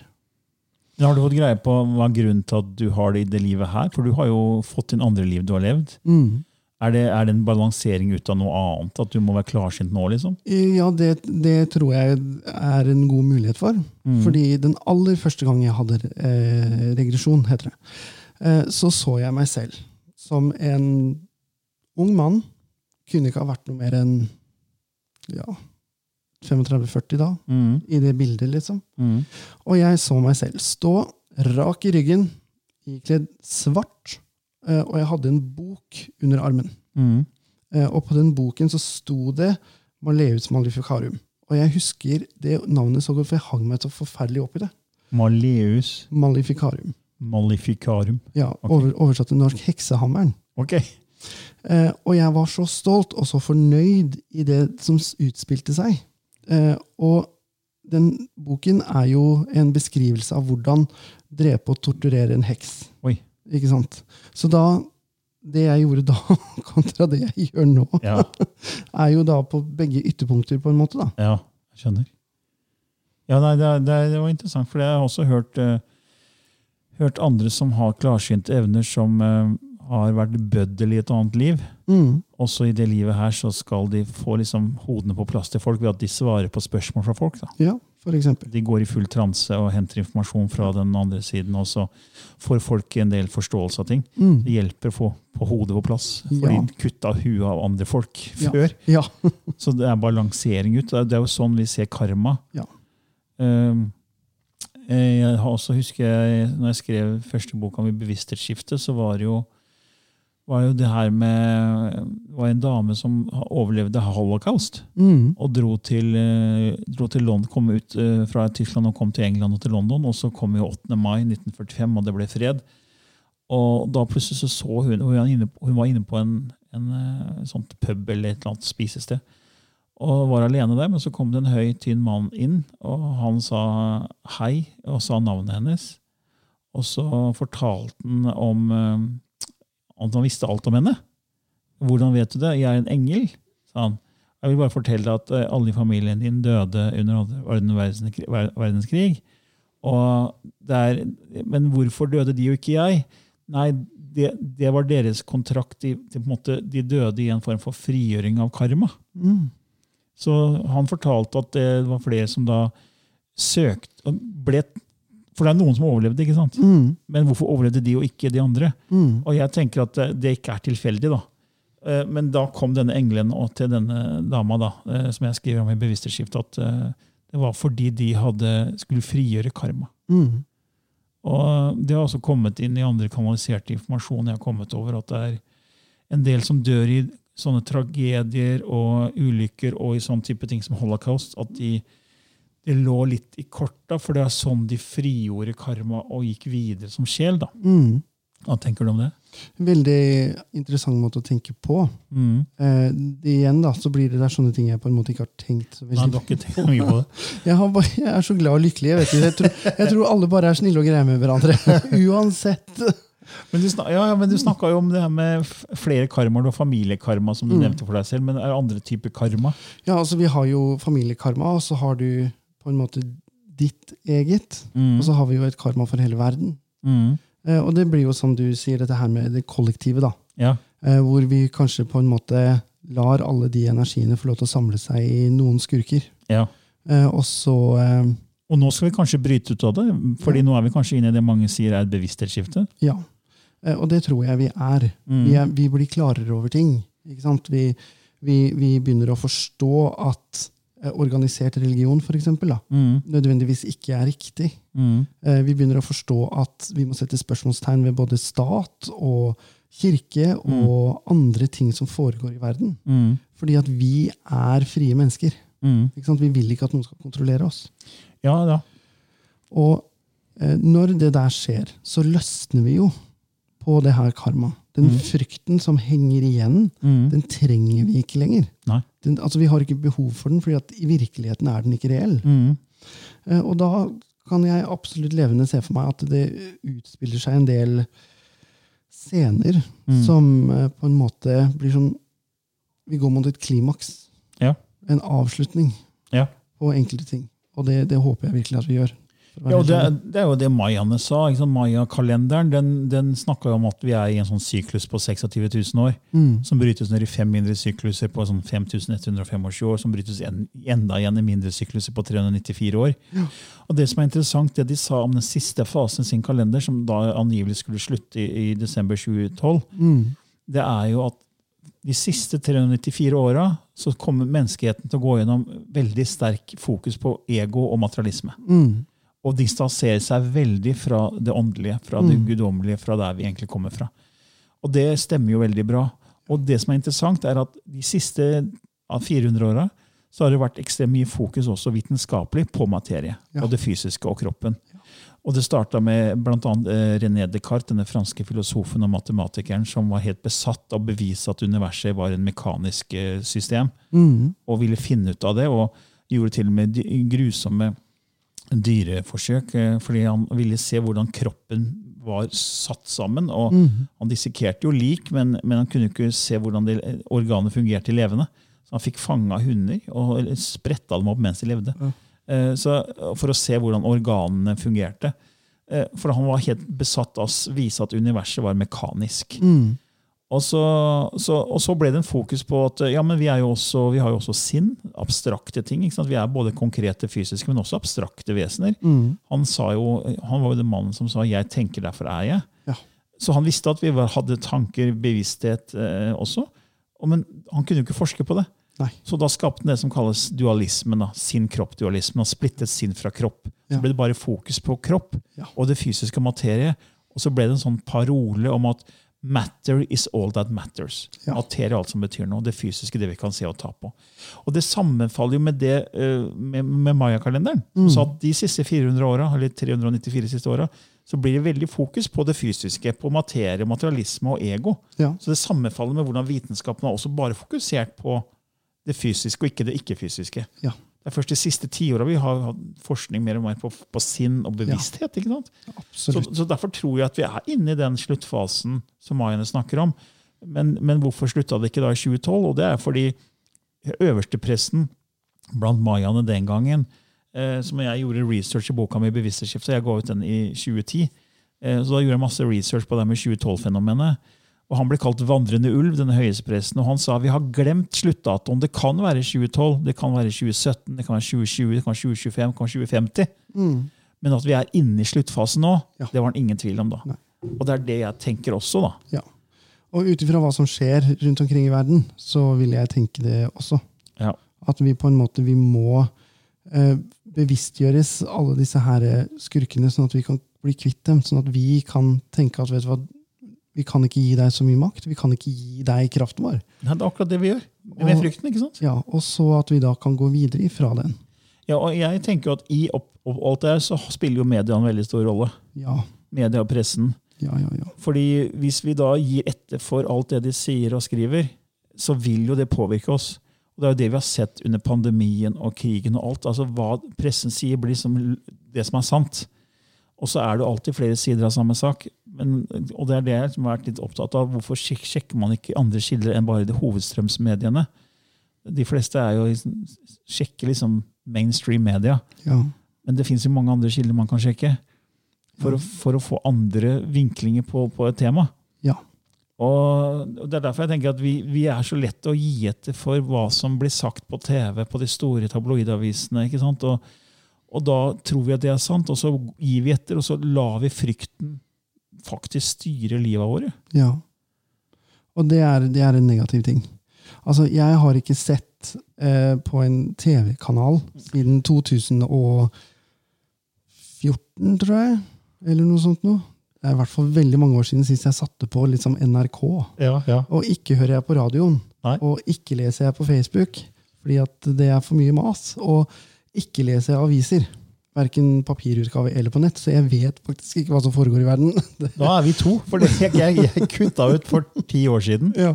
[SPEAKER 2] Men Har du fått greie på hva er grunnen til at du har det i det livet her? For du har jo fått inn andre liv du har levd.
[SPEAKER 3] Mm.
[SPEAKER 2] Er det, er det en balansering ut av noe annet? At du må være klarsynt nå, liksom?
[SPEAKER 3] Eh, Ja, det, det tror jeg er en god mulighet for.
[SPEAKER 2] Mm.
[SPEAKER 3] Fordi den aller første gang jeg hadde eh, regresjon, heter det, eh, så så jeg meg selv som en ung mann. Kunne ikke ha vært noe mer enn ja, 35-40 da,
[SPEAKER 2] Mm.
[SPEAKER 3] i det bildet, liksom.
[SPEAKER 2] Mm.
[SPEAKER 3] Og jeg så meg selv stå rak i ryggen, ikledd svart, eh, og jeg hadde en bok under armen.
[SPEAKER 2] Mm.
[SPEAKER 3] Eh, Og på den boken så sto det Maleus Maleficarum. Og jeg husker det navnet så godt, for jeg hang meg så forferdelig opp i det.
[SPEAKER 2] Maleus
[SPEAKER 3] Maleficarum.
[SPEAKER 2] maleficarum.
[SPEAKER 3] Ja, over, Oversatt til norsk heksehammeren.
[SPEAKER 2] Ok.
[SPEAKER 3] Eh, og jeg var så stolt og så fornøyd i det som s- utspilte seg. Eh, og den boken er jo en beskrivelse av hvordan drepe og torturere en heks.
[SPEAKER 2] Oi.
[SPEAKER 3] Ikke sant? Så da Det jeg gjorde da, <laughs> kontra det jeg gjør nå,
[SPEAKER 2] Ja.
[SPEAKER 3] er jo da på begge ytterpunkter, på en måte. da.
[SPEAKER 2] Ja, jeg skjønner. Ja, nei, det, er- det, er- det var interessant, for jeg har også hørt, eh, hørt andre som har klarsynte evner, som eh, har vært bøddel i et annet liv.
[SPEAKER 3] Mm.
[SPEAKER 2] Også i det livet her så skal de få liksom hodene på plass til folk ved at de svarer på spørsmål fra folk. da.
[SPEAKER 3] Ja, for eksempel.
[SPEAKER 2] De går i full transe og henter informasjon fra den andre siden, og så får folk en del forståelse av ting.
[SPEAKER 3] Mm.
[SPEAKER 2] Det hjelper å få på hodet på plass, for
[SPEAKER 3] Ja.
[SPEAKER 2] de kutta huet av andre folk
[SPEAKER 3] Ja.
[SPEAKER 2] før.
[SPEAKER 3] Ja.
[SPEAKER 2] Så det er balansering ut. Det er- det er jo sånn vi ser karma.
[SPEAKER 3] Ja.
[SPEAKER 2] Um, eh, Jeg har også husker jeg, når jeg skrev første boka om bevissthetsskiftet, så var det jo var jo det her med det var en dame som ha- overlevde holocaust
[SPEAKER 3] Mm.
[SPEAKER 2] og dro til, eh, dro til London, kom ut eh, fra Tyskland og kom til England og til London. Og så kom jo 8. mai 1945, og det ble fred. Og da plutselig så, så hun Hun var inne, hun var inne på en, en eh, sånt pub eller et eller annet spisested. Og var alene der, men så kom det en høy, tynn mann inn, og han sa hei og sa navnet hennes. Og så fortalte han om eh, at han visste alt om henne. Hvordan vet du det? Jeg er en engel, sa han. Jeg vil bare fortelle deg at eh, alle i familien din døde under andre verdenskrig, verdenskrig. Og det er, men hvorfor døde de og ikke jeg? Nei, det, det var deres kontrakt. De, de, på en måte, de døde i en form for frigjøring av karma.
[SPEAKER 3] Mm.
[SPEAKER 2] Så han fortalte at det var flere som da søkte og ble, For det er noen som overlevde, ikke sant?
[SPEAKER 3] Mm.
[SPEAKER 2] Men hvorfor overlevde de og ikke de andre?
[SPEAKER 3] Mm.
[SPEAKER 2] Og jeg tenker at det- det ikke er tilfeldig, da. Eh, Men da kom denne engelen og til denne dama, da, eh, som jeg skriver om i Bevissthetsskift, at eh, det var fordi de hadde, skulle frigjøre karma.
[SPEAKER 3] Mm.
[SPEAKER 2] Og det har også kommet inn i andre kanaliserte informasjon jeg har kommet over, at det er en del som dør i sånne tragedier og ulykker og i sånn type ting som holocaust, at de, det lå litt i korta, for det er sånn de frigjorde karma og gikk videre som sjel. da.
[SPEAKER 3] Mm.
[SPEAKER 2] Hva tenker du om det?
[SPEAKER 3] Veldig interessant måte å tenke på.
[SPEAKER 2] Mm.
[SPEAKER 3] Eh, det, igjen da, så blir det der sånne ting jeg på en måte ikke har tenkt så
[SPEAKER 2] Nei,
[SPEAKER 3] veldig
[SPEAKER 2] du har ikke tenkt mye på det.
[SPEAKER 3] Jeg, har bare, jeg er så glad og lykkelig. Jeg, vet ikke. jeg, tror, jeg tror alle bare er snille og greie med hverandre.
[SPEAKER 2] <laughs>
[SPEAKER 3] Uansett.
[SPEAKER 2] <laughs> Men du, snak, ja, ja, men du snakka jo om det her med f- flere karmaer. Du har familiekarma, som du
[SPEAKER 3] Mm.
[SPEAKER 2] nevnte for deg selv, men er det andre typer karma?
[SPEAKER 3] Ja, altså Vi har jo familiekarma, og så har du på en måte ditt eget.
[SPEAKER 2] Mm.
[SPEAKER 3] Og så har vi jo et karma for hele verden.
[SPEAKER 2] Mm.
[SPEAKER 3] Eh, og det blir jo som du sier, dette her med det kollektive. da.
[SPEAKER 2] Ja.
[SPEAKER 3] Eh, hvor vi kanskje på en måte lar alle de energiene få lov til å samle seg i noen skurker.
[SPEAKER 2] ja.
[SPEAKER 3] Eh, og så eh,
[SPEAKER 2] Og nå skal vi kanskje bryte ut av det, fordi nå er vi kanskje inne i det mange sier er et bevissthetsskifte.
[SPEAKER 3] Ja. Eh, Og det tror jeg vi er.
[SPEAKER 2] Mm.
[SPEAKER 3] Vi, er, vi blir klarere over ting. Ikke sant? Vi, vi, vi begynner å forstå at eh, organisert religion, for eksempel, da,
[SPEAKER 2] Mm.
[SPEAKER 3] nødvendigvis ikke er riktig.
[SPEAKER 2] Mm.
[SPEAKER 3] Eh, Vi begynner å forstå at vi må sette spørsmålstegn ved både stat og kirke og andre ting som foregår i verden.
[SPEAKER 2] Mm.
[SPEAKER 3] Fordi at vi er frie mennesker.
[SPEAKER 2] Mm.
[SPEAKER 3] Ikke sant? Vi vil ikke at noen skal kontrollere oss.
[SPEAKER 2] Ja, ja.
[SPEAKER 3] Og eh, når det der skjer, så løsner vi jo på det her karma. Den
[SPEAKER 2] Mm.
[SPEAKER 3] frykten som henger igjen,
[SPEAKER 2] Mm.
[SPEAKER 3] den trenger vi ikke lenger.
[SPEAKER 2] Nei.
[SPEAKER 3] Den, altså Vi har ikke behov for den, fordi at i virkeligheten er den ikke reell.
[SPEAKER 2] Mm.
[SPEAKER 3] Eh, og da kan jeg absolutt levende se for meg at det utspiller seg en del scener
[SPEAKER 2] Mm.
[SPEAKER 3] som eh, på en måte blir sånn Vi går mot et klimaks.
[SPEAKER 2] Ja.
[SPEAKER 3] En avslutning
[SPEAKER 2] Ja.
[SPEAKER 3] på enkelte ting. Og det, det håper jeg virkelig at vi gjør. for å være
[SPEAKER 2] Ja, og
[SPEAKER 3] helt
[SPEAKER 2] det,
[SPEAKER 3] ærlig.
[SPEAKER 2] er- det er jo det mayaene sa. ikke sant? Maya-kalenderen den, den snakka jo om at vi er i en sånn syklus på 26 000 år,
[SPEAKER 3] Mm.
[SPEAKER 2] som brytes ned i fem mindre sykluser på sånn 5125 år, som brytes en, enda igjen i mindre sykluser på 394 år. Og Det som er interessant, det de sa om den siste fasen i sin kalender, som da angivelig skulle slutte i, i desember 2012,
[SPEAKER 3] Mm.
[SPEAKER 2] det er jo at de siste 394 åra så kommer menneskeheten til å gå gjennom veldig sterk fokus på ego og materialisme.
[SPEAKER 3] Mm.
[SPEAKER 2] Og distansere seg veldig fra det åndelige, fra det
[SPEAKER 3] Mm.
[SPEAKER 2] guddommelige, fra der vi egentlig kommer fra. Og det stemmer jo veldig bra. Og det som er interessant, er at de siste av 400 åra så har det vært ekstremt mye fokus også vitenskapelig på materie
[SPEAKER 3] Ja.
[SPEAKER 2] og det fysiske og kroppen. Og det starta med bl.a. René Descartes, denne franske filosofen og matematikeren som var helt besatt av å bevise at universet var en mekanisk eh, system,
[SPEAKER 3] Mm.
[SPEAKER 2] og ville finne ut av det. og Gjorde til og med dy- grusomme dyreforsøk, eh, fordi han ville se hvordan kroppen var satt sammen. og
[SPEAKER 3] Mm.
[SPEAKER 2] han dissekerte jo lik, men, men han kunne ikke se hvordan det, eh, organet fungerte i levende. Så han fikk fanga hunder og spretta dem opp mens de levde. Eh, Så, for å se hvordan organene fungerte. Eh, For han var helt besatt av å vise at universet var mekanisk.
[SPEAKER 3] Mm.
[SPEAKER 2] Og så, så, og så ble det en fokus på at ja, men vi, er jo også, vi har jo også sinn. Abstrakte ting. Ikke sant? Vi er både konkrete fysiske, men også abstrakte vesener.
[SPEAKER 3] Mm.
[SPEAKER 2] Han, sa jo, han var jo den mannen som sa 'jeg tenker, derfor er jeg'.
[SPEAKER 3] Ja.
[SPEAKER 2] Så han visste at vi var, hadde tanker, bevissthet eh, også. Og, men han kunne jo ikke forske på det.
[SPEAKER 3] Nei.
[SPEAKER 2] Så da skapte han det som kalles dualismen. da, Sinn-kropp-dualismen. Han splittet sinn fra kropp. Så
[SPEAKER 3] Ja.
[SPEAKER 2] ble det bare fokus på kropp
[SPEAKER 3] Ja.
[SPEAKER 2] og det fysiske materie. Og så ble det en sånn parole om at matter is all that matters.
[SPEAKER 3] Ja.
[SPEAKER 2] Materie er alt som betyr noe. Det fysiske, det vi kan se og ta på. Og det sammenfaller jo med det eh, med, med mayakalenderen. Mm. Så at de siste 400 åra, eller 394 siste åra, så blir det veldig fokus på det fysiske, på materie, materialisme og ego.
[SPEAKER 3] Ja.
[SPEAKER 2] Så det sammenfaller med hvordan vitenskapen har også bare fokusert på det fysiske og ikke det ikke-fysiske.
[SPEAKER 3] Ja.
[SPEAKER 2] Det er først de siste tiåra vi har hatt forskning mer og mer på, på sinn og bevissthet. ikke sant? Så,
[SPEAKER 3] Absolutt.
[SPEAKER 2] så derfor tror jeg at vi er inne i den sluttfasen som mayaene snakker om. Men, men hvorfor slutta det ikke da i 2012? Og det er fordi øverstepresten blant mayaene den gangen, eh, som jeg gjorde research i boka mi Bevissthetsskiftet, jeg ga ut den i 2010, eh, så da gjorde jeg masse research på det her med 2012-fenomenet. Og Han ble kalt vandrende ulv, denne høyestepresten. Og han sa vi har glemt sluttdatoen. Det kan være 2012, det kan være 2017, det kan være 2020, det kan være 2025, det kan være 2050. Men at vi er inne i sluttfasen nå,
[SPEAKER 3] Ja.
[SPEAKER 2] det var han ingen tvil om da.
[SPEAKER 3] Nei.
[SPEAKER 2] Og det er det jeg tenker også, da.
[SPEAKER 3] Ja. Og ut ifra hva som skjer rundt omkring i verden, så vil jeg tenke det også.
[SPEAKER 2] Ja.
[SPEAKER 3] At vi på en måte vi må eh, bevisstgjøres, alle disse her eh, skurkene, sånn at vi kan bli kvitt dem. Sånn at vi kan tenke at vet du hva, vi kan ikke gi deg så mye makt. Vi kan ikke gi deg kraften vår.
[SPEAKER 2] Nei, Det er akkurat det vi gjør. Med
[SPEAKER 3] Og-
[SPEAKER 2] frykten, ikke sant?
[SPEAKER 3] Ja, Og så at vi da kan gå videre ifra den.
[SPEAKER 2] Ja, og jeg tenker jo at i opp, opp, alt det her så spiller jo media en veldig stor rolle.
[SPEAKER 3] Ja,
[SPEAKER 2] Media og pressen.
[SPEAKER 3] ja, ja. ja.
[SPEAKER 2] Fordi hvis vi da gir etter for alt det de sier og skriver, så vil jo det påvirke oss. Og Det er jo det vi har sett under pandemien og krigen og alt. Altså Hva pressen sier, blir som l- det som er sant. Og så er det jo alltid flere sider av samme sak. Men, og det er det jeg som har vært litt opptatt av. Hvorfor sjek- sjekker man ikke andre kilder enn bare de hovedstrømsmediene? De fleste er jo, liksom- sjekker liksom mainstream media.
[SPEAKER 3] ja.
[SPEAKER 2] Men det fins jo mange andre kilder man kan sjekke for, å, for å få andre vinklinger på, på et tema.
[SPEAKER 3] Ja.
[SPEAKER 2] Og Det er derfor jeg tenker at vi, vi er så lett å gi etter for hva som blir sagt på TV, på de store tabloidavisene. ikke sant? Og, og da tror vi at det er sant, og så gir vi etter, og så lar vi frykten faktisk styre livet våre.
[SPEAKER 3] Ja. Og det er, det er en negativ ting. Altså, jeg har ikke sett eh, på en TV-kanal siden 2014, tror jeg. Eller noe sånt noe. Det er i hvert fall veldig mange år siden sist jeg satte på liksom NRK.
[SPEAKER 2] Ja, ja.
[SPEAKER 3] Og ikke hører jeg på radioen.
[SPEAKER 2] Nei.
[SPEAKER 3] Og ikke leser jeg på Facebook. Fordi at det er for mye mas. Og ikke leser jeg aviser. Verken papirutgave eller på nett. Så jeg vet faktisk ikke hva som foregår i verden. Det,
[SPEAKER 2] Da er vi to, for det- jeg, jeg, jeg kutta ut for ti år siden.
[SPEAKER 3] ja.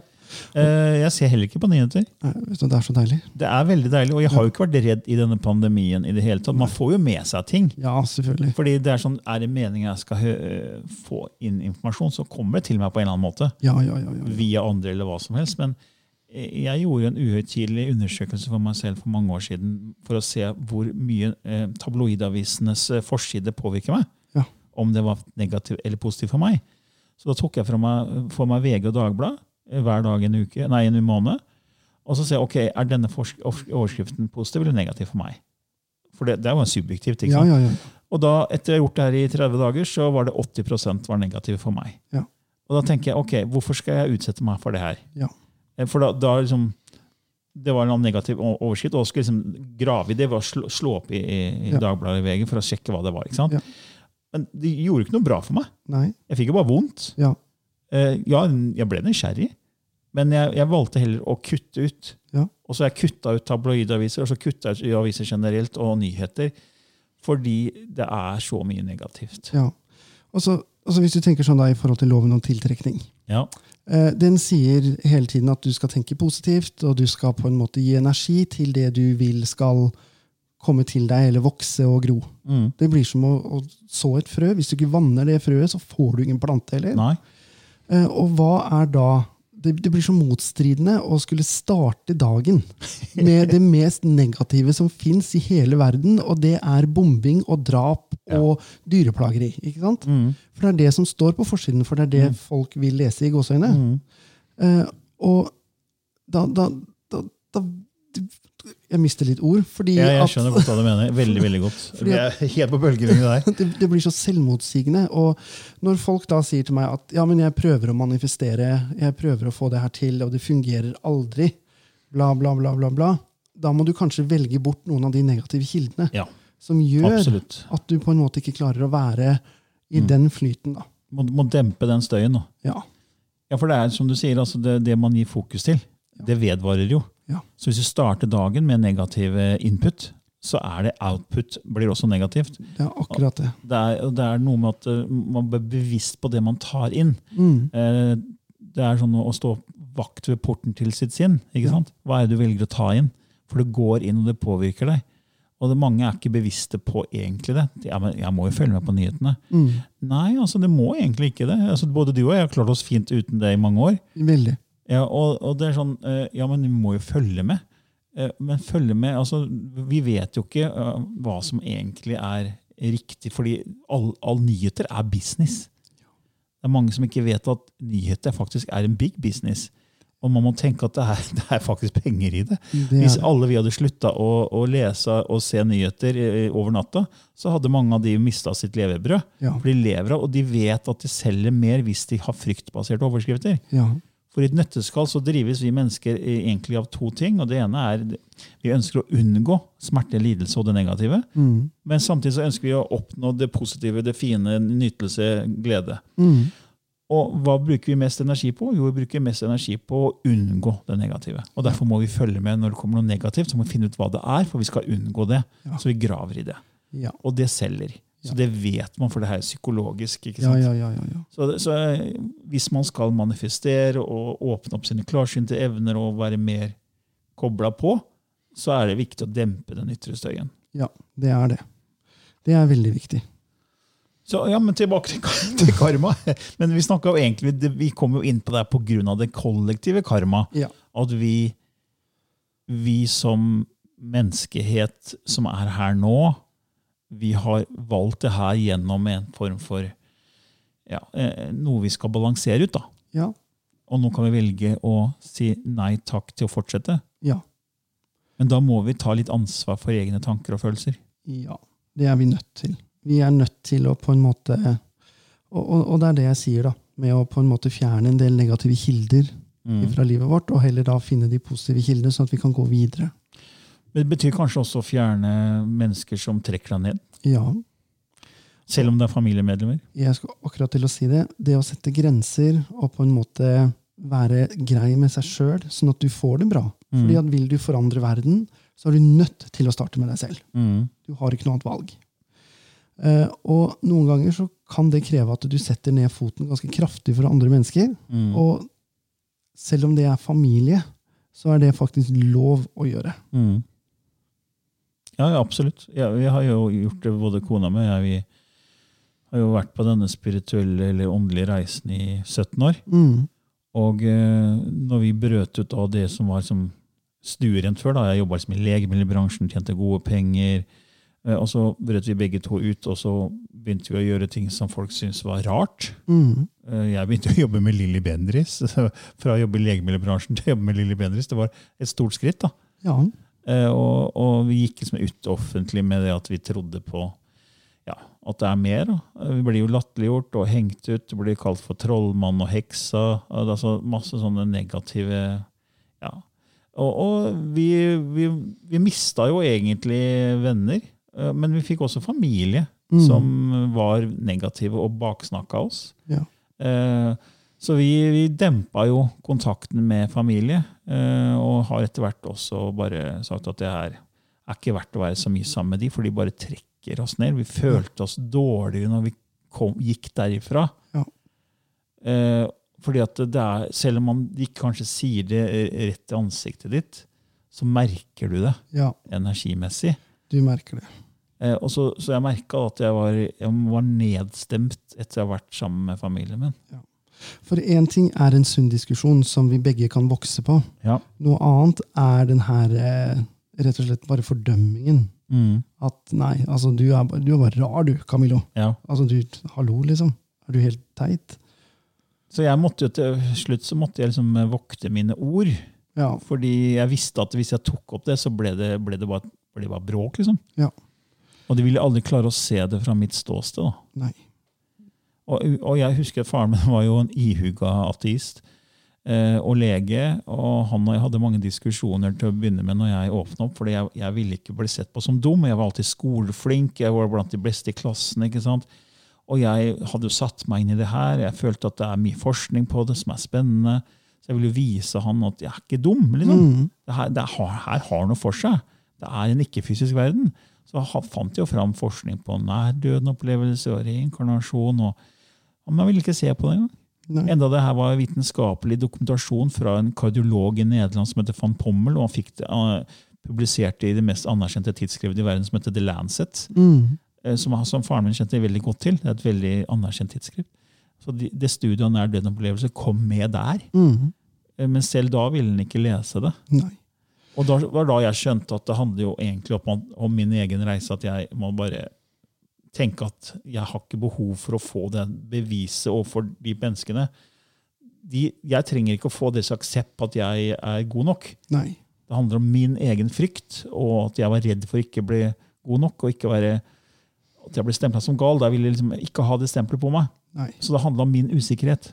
[SPEAKER 2] Eh, Jeg ser heller ikke på nyheter.
[SPEAKER 3] <laughs> Nei, vet du, det er så deilig.
[SPEAKER 2] Det er veldig deilig, og jeg har jo ikke vært redd i denne pandemien i det hele tatt. Man får jo med seg ting.
[SPEAKER 3] Ja, selvfølgelig.
[SPEAKER 2] Fordi det er sånn, er det meningen jeg skal hø- få inn informasjon, så kommer det til meg på en eller annen måte.
[SPEAKER 3] Ja, ja, ja. ja.
[SPEAKER 2] Via andre eller hva som helst. Men jeg gjorde en uhøytidelig undersøkelse for meg selv for mange år siden for å se hvor mye eh, tabloidavisenes eh, forside påvirker meg.
[SPEAKER 3] Ja.
[SPEAKER 2] Om det var negativt eller positivt for meg. Så da tok jeg fra meg, for meg VG og Dagbladet eh, hver dag en uke, nei, en måned. Og så ser jeg ok, er denne forsk- overskriften positiv eller negativ for meg. For det, det er jo subjektivt. ikke sant?
[SPEAKER 3] ja, ja, ja.
[SPEAKER 2] Og da, etter jeg har gjort det her i 30 dager, så var det 80 var negative for meg.
[SPEAKER 3] Ja.
[SPEAKER 2] Og da tenker jeg, ok, hvorfor skal jeg utsette meg for det her?
[SPEAKER 3] Ja.
[SPEAKER 2] Eh, For da, da liksom, det var en annen negativ o- overskrift, og jeg skulle liksom grave i det, var å slå, slå opp i, i i
[SPEAKER 3] Ja.
[SPEAKER 2] Dagbladet i VG for å sjekke hva det var. ikke sant?
[SPEAKER 3] Ja.
[SPEAKER 2] Men det gjorde ikke noe bra for meg.
[SPEAKER 3] Nei,
[SPEAKER 2] Jeg fikk jo bare vondt.
[SPEAKER 3] ja,
[SPEAKER 2] Eh, ja, jeg ble nysgjerrig, men jeg, jeg valgte heller å kutte ut.
[SPEAKER 3] Ja.
[SPEAKER 2] Og så har jeg kutta ut tabloidaviser og så kutta ut aviser generelt og nyheter. Fordi det er så mye negativt.
[SPEAKER 3] ja. Og så, og så hvis du tenker sånn da i forhold til loven om tiltrekning.
[SPEAKER 2] Ja.
[SPEAKER 3] Eh, Den sier hele tiden at du skal tenke positivt, og du skal på en måte gi energi til det du vil skal komme til deg, eller vokse og gro.
[SPEAKER 2] Mm.
[SPEAKER 3] Det blir som å, å så et frø. Hvis du ikke vanner det frøet, så får du ingen plante heller.
[SPEAKER 2] Nei.
[SPEAKER 3] Eh, Og hva er da det, det blir så motstridende å skulle starte dagen med det mest negative som fins i hele verden, og det er bombing og drap og dyreplageri. ikke sant?
[SPEAKER 2] Mm.
[SPEAKER 3] For det er det som står på forsiden, for det er det folk vil lese i gåseøyne.
[SPEAKER 2] Mm.
[SPEAKER 3] Eh, og da, da, da, da Jeg mister litt ord, fordi
[SPEAKER 2] Jeg, jeg
[SPEAKER 3] at
[SPEAKER 2] skjønner godt hva du mener. Veldig veldig <laughs> godt. Vi er helt på bølgelengde der.
[SPEAKER 3] det, det blir så selvmotsigende. Og når folk da sier til meg at ja, men jeg prøver å manifestere, jeg prøver å få det her til, og det fungerer aldri, bla, bla, bla, bla, bla, da må du kanskje velge bort noen av de negative kildene
[SPEAKER 2] Ja,
[SPEAKER 3] som gjør
[SPEAKER 2] absolutt. Mm.
[SPEAKER 3] at du på en måte ikke klarer å være i den flyten. da.
[SPEAKER 2] Må, må dempe den støyen nå.
[SPEAKER 3] Ja,
[SPEAKER 2] Ja, for det er som du sier, altså det, det man gir fokus til, det vedvarer jo.
[SPEAKER 3] Ja.
[SPEAKER 2] Så hvis du starter dagen med negative input, så er det output blir også negativt.
[SPEAKER 3] det er akkurat det.
[SPEAKER 2] Det er, og det er noe med at eh, man blir bevisst på det man tar inn. Eh, Det er sånn å å stå vakt ved porten til sitt sinn. ikke sant? Hva er det du velger å ta inn? For det går inn, og det påvirker deg. Og det, mange er ikke bevisste på egentlig det. De, Ja, men jeg må jo følge med på nyhetene. Nei, altså det må egentlig ikke det. Altså, både du og jeg har klart oss fint uten det i mange år.
[SPEAKER 3] Veldig.
[SPEAKER 2] Ja, og, og det er sånn, eh, ja, men vi må jo følge med. Eh, Men følge med, altså, vi vet jo ikke eh, hva som egentlig er riktig, fordi all, all nyheter er business. Det er mange som ikke vet at nyheter faktisk er en big business. Og man må tenke at det er, <laughs> det er faktisk penger i det.
[SPEAKER 3] Det
[SPEAKER 2] Hvis
[SPEAKER 3] er,
[SPEAKER 2] alle vi hadde slutta å, å lese og se nyheter eh, over natta, så hadde mange av de mista sitt levebrød.
[SPEAKER 3] ja,
[SPEAKER 2] For de lever av, og de vet at de selger mer hvis de har fryktbaserte overskrifter.
[SPEAKER 3] ja,
[SPEAKER 2] For i et nøtteskall så drives vi mennesker eh, egentlig av to ting. og Det ene er vi ønsker å unngå smerte, lidelse og det negative.
[SPEAKER 3] mm,
[SPEAKER 2] Men samtidig så ønsker vi å oppnå det positive, det fine, nytelse, glede.
[SPEAKER 3] mm,
[SPEAKER 2] Og hva bruker vi mest energi på? Jo, vi bruker mest energi på å unngå det negative. Og Derfor må vi følge med når det kommer noe negativt, så må vi finne ut hva det er, for vi skal unngå det.
[SPEAKER 3] Ja.
[SPEAKER 2] Så vi graver i det.
[SPEAKER 3] ja,
[SPEAKER 2] Og det selger. Så
[SPEAKER 3] Ja.
[SPEAKER 2] det vet man, for det her er psykologisk. ikke
[SPEAKER 3] ja,
[SPEAKER 2] sant?
[SPEAKER 3] ja, ja, ja, ja.
[SPEAKER 2] Så, så eh, hvis man skal manifestere og åpne opp sine klarsynte evner og være mer kobla på, så er det viktig å dempe den ytre støyen.
[SPEAKER 3] Ja, det er det. Det er veldig viktig.
[SPEAKER 2] Så ja, men tilbake til, kar- <laughs> til karma. Men vi snakket jo egentlig, det- vi kom jo inn på det her pga. det kollektive karma.
[SPEAKER 3] Ja.
[SPEAKER 2] At vi, vi som menneskehet som er her nå, vi har valgt det her gjennom en form for ja, eh, noe vi skal balansere ut. da.
[SPEAKER 3] Ja,
[SPEAKER 2] Og nå kan vi velge å si nei takk til å fortsette.
[SPEAKER 3] ja,
[SPEAKER 2] Men da må vi ta litt ansvar for egne tanker og følelser.
[SPEAKER 3] ja. Det er vi nødt til. Vi er nødt til å på en måte Og, og, og det er det jeg sier, da. Med å på en måte fjerne en del negative kilder
[SPEAKER 2] Mm.
[SPEAKER 3] fra livet vårt, og heller da finne de positive kildene, sånn at vi kan gå videre.
[SPEAKER 2] Men det betyr kanskje også å fjerne mennesker som trekker deg ned,
[SPEAKER 3] Ja,
[SPEAKER 2] selv om det er familiemedlemmer.
[SPEAKER 3] jeg skulle akkurat til å si det. Det å sette grenser og på en måte være grei med seg sjøl, sånn at du får det bra.
[SPEAKER 2] Mm.
[SPEAKER 3] Fordi at vil du forandre verden, så er du nødt til å starte med deg selv. Du har ikke noe annet valg. Eh, og noen ganger så kan det kreve at du setter ned foten ganske kraftig for andre mennesker. Og selv om det er familie, så er det faktisk lov å gjøre.
[SPEAKER 2] Mm. Ja, ja, absolutt. Ja, vi har jo gjort det, både kona mi og jeg. Vi har jo vært på denne spirituelle eller åndelige reisen i 17 år.
[SPEAKER 3] Mm.
[SPEAKER 2] Og eh, når vi brøt ut av det som var som stuerent før, da, jeg jobba liksom i legemiddelbransjen, tjente gode penger, eh, og så brøt vi begge to ut, og så begynte vi å gjøre ting som folk syntes var rart.
[SPEAKER 3] Mm.
[SPEAKER 2] Eh, Jeg begynte å jobbe med Lilly Bendriss. <laughs> Fra å jobbe i legemiddelbransjen til å jobbe med Lilly Bendriss. Det var et stort skritt. da.
[SPEAKER 3] Ja.
[SPEAKER 2] Eh, Og, og vi gikk liksom ut offentlig med det at vi trodde på ja, at det er mer. Da. Eh, Vi blir jo latterliggjort og hengt ut. Du blir kalt for trollmann og heksa. Eh, det er Altså masse sånne negative ja. Og, og vi, vi, vi mista jo egentlig venner. eh, Men vi fikk også familie
[SPEAKER 3] Mm.
[SPEAKER 2] som var negative og baksnakka oss.
[SPEAKER 3] ja.
[SPEAKER 2] Eh, Så vi, vi dempa jo kontakten med familie, eh, og har etter hvert også bare sagt at det her er ikke verdt å være så mye sammen med de, for de bare trekker oss ned. Vi følte oss dårligere når vi kom, gikk derifra.
[SPEAKER 3] Ja.
[SPEAKER 2] Eh, Fordi at det er, selv om man de kanskje sier det eh, rett i ansiktet ditt, så merker du det
[SPEAKER 3] Ja,
[SPEAKER 2] energimessig.
[SPEAKER 3] du merker det.
[SPEAKER 2] Eh, Og så, så jeg merka at jeg var, jeg var nedstemt etter å ha vært sammen med familien min.
[SPEAKER 3] For én ting er en sunn diskusjon som vi begge kan vokse på.
[SPEAKER 2] Ja.
[SPEAKER 3] Noe annet er den her eh, rett og slett bare fordømmingen.
[SPEAKER 2] Mm.
[SPEAKER 3] At nei, altså du er, bare- du er bare rar du, Camillo.
[SPEAKER 2] Ja.
[SPEAKER 3] Altså du, hallo liksom. Er du helt teit?
[SPEAKER 2] Så jeg måtte jo til slutt så måtte jeg liksom vokte mine ord.
[SPEAKER 3] Ja,
[SPEAKER 2] Fordi jeg visste at hvis jeg tok opp det, så ble det, ble det, bare, ble det bare bråk. liksom.
[SPEAKER 3] Ja.
[SPEAKER 2] Og de ville aldri klare å se det fra mitt ståsted. da.
[SPEAKER 3] nei.
[SPEAKER 2] Og, og jeg husker at faren min var jo en ihuga ateist eh, og lege. Og han og jeg hadde mange diskusjoner til å begynne med når jeg åpna opp. fordi jeg, jeg ville ikke bli sett på som dum. Jeg var alltid skoleflink, jeg var blant de beste i klassen. ikke sant? Og jeg hadde jo satt meg inn i det her. Jeg følte at det er mye forskning på det som er spennende. Så jeg ville jo vise han at jeg er ikke dum. liksom. Det, her, det har, her har noe for seg. Det er en ikke-fysisk verden. Så ha- fant jeg jo fram forskning på nærdøden opplevelse og reinkarnasjon. og ja, Men jeg ville ikke se på det engang.
[SPEAKER 3] Nei.
[SPEAKER 2] Enda det her var vitenskapelig dokumentasjon fra en kardiolog i Nederland som heter van Pommel, og han fikk det eh, publisert i det mest anerkjente tidsskriftet i verden, som heter The Lancet.
[SPEAKER 3] Mm.
[SPEAKER 2] eh, Som, som faren min kjente veldig godt til. Det er et veldig anerkjent tidsskrift. Så de, det studiet av nær døden-opplevelse kom med der.
[SPEAKER 3] Mm.
[SPEAKER 2] eh, Men selv da ville han ikke lese det.
[SPEAKER 3] Nei.
[SPEAKER 2] Og da var da jeg skjønte at det handler jo egentlig om, om min egen reise, at jeg må bare tenke at jeg har ikke behov for å få det beviset overfor de menneskene. De, jeg trenger ikke å få deres aksept på at jeg er god nok.
[SPEAKER 3] Nei.
[SPEAKER 2] Det handler om min egen frykt, og at jeg var redd for ikke å bli god nok. og ikke være, At jeg ble stempla som gal. Da ville jeg liksom ikke ha det stempelet på meg.
[SPEAKER 3] Nei.
[SPEAKER 2] Så det handla om min usikkerhet.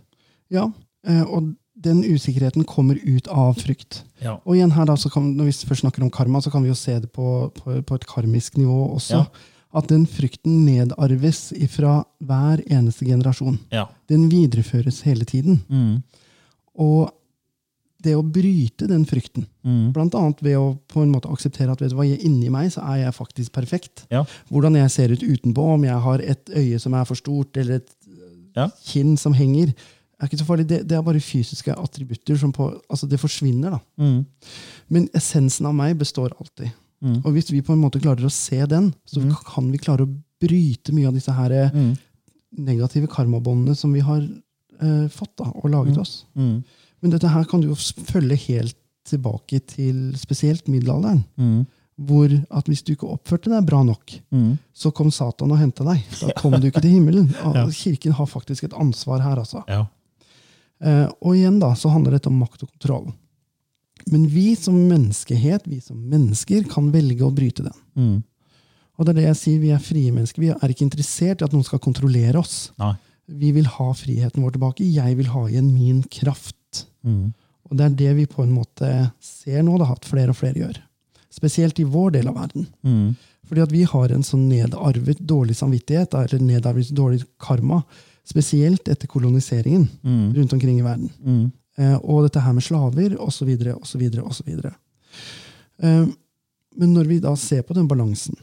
[SPEAKER 3] Ja, eh, og den usikkerheten kommer ut av frykt.
[SPEAKER 2] Ja.
[SPEAKER 3] Og igjen her da, så kan, når vi først snakker om karma, så kan vi jo se det på, på, på et karmisk nivå også.
[SPEAKER 2] Ja.
[SPEAKER 3] At den frykten nedarves fra hver eneste generasjon.
[SPEAKER 2] Ja.
[SPEAKER 3] Den videreføres hele tiden.
[SPEAKER 2] Mm.
[SPEAKER 3] Og det å bryte den frykten,
[SPEAKER 2] Mm.
[SPEAKER 3] blant annet ved å på en måte akseptere at vet du hva, inni meg så er jeg faktisk perfekt.
[SPEAKER 2] Ja.
[SPEAKER 3] Hvordan jeg ser ut utenpå, om jeg har et øye som er for stort, eller et
[SPEAKER 2] Ja.
[SPEAKER 3] kinn som henger, er ikke så farlig. Det, det er bare fysiske attributter som på, altså det forsvinner. da.
[SPEAKER 2] Mm.
[SPEAKER 3] Men essensen av meg består alltid.
[SPEAKER 2] Mm.
[SPEAKER 3] Og hvis vi på en måte klarer å se den, så
[SPEAKER 2] Mm.
[SPEAKER 3] kan vi klare å bryte mye av disse her eh,
[SPEAKER 2] Mm.
[SPEAKER 3] negative karmabåndene som vi har eh, fått da, og laget
[SPEAKER 2] Mm.
[SPEAKER 3] oss.
[SPEAKER 2] Mm.
[SPEAKER 3] Men dette her kan du jo s- følge helt tilbake til spesielt middelalderen.
[SPEAKER 2] Mm.
[SPEAKER 3] Hvor at hvis du ikke oppførte deg bra nok,
[SPEAKER 2] Mm.
[SPEAKER 3] så kom Satan og henta deg. Da kom du ikke til
[SPEAKER 2] <laughs>
[SPEAKER 3] himmelen. Og
[SPEAKER 2] Ja.
[SPEAKER 3] Kirken har faktisk et ansvar her, altså.
[SPEAKER 2] Ja.
[SPEAKER 3] Eh, og igjen da, så handler dette om makt og kontroll. Men vi som menneskehet, vi som mennesker, kan velge å bryte den.
[SPEAKER 2] Mm.
[SPEAKER 3] Og det er det jeg sier, vi er frie mennesker. Vi er ikke interessert i at noen skal kontrollere oss.
[SPEAKER 2] Nei.
[SPEAKER 3] Vi vil ha friheten vår tilbake. Jeg vil ha igjen min kraft.
[SPEAKER 2] Mm.
[SPEAKER 3] Og det er det vi på en måte ser nå, da, at flere og flere gjør. Spesielt i vår del av verden.
[SPEAKER 2] Mm.
[SPEAKER 3] Fordi at vi har en sånn nedarvet dårlig samvittighet, da, eller nedarvet dårlig karma, spesielt etter koloniseringen
[SPEAKER 2] Mm.
[SPEAKER 3] rundt omkring i verden.
[SPEAKER 2] Mm.
[SPEAKER 3] Eh, og dette her med slaver, osv., osv., osv. Eh, men når vi da ser på den balansen,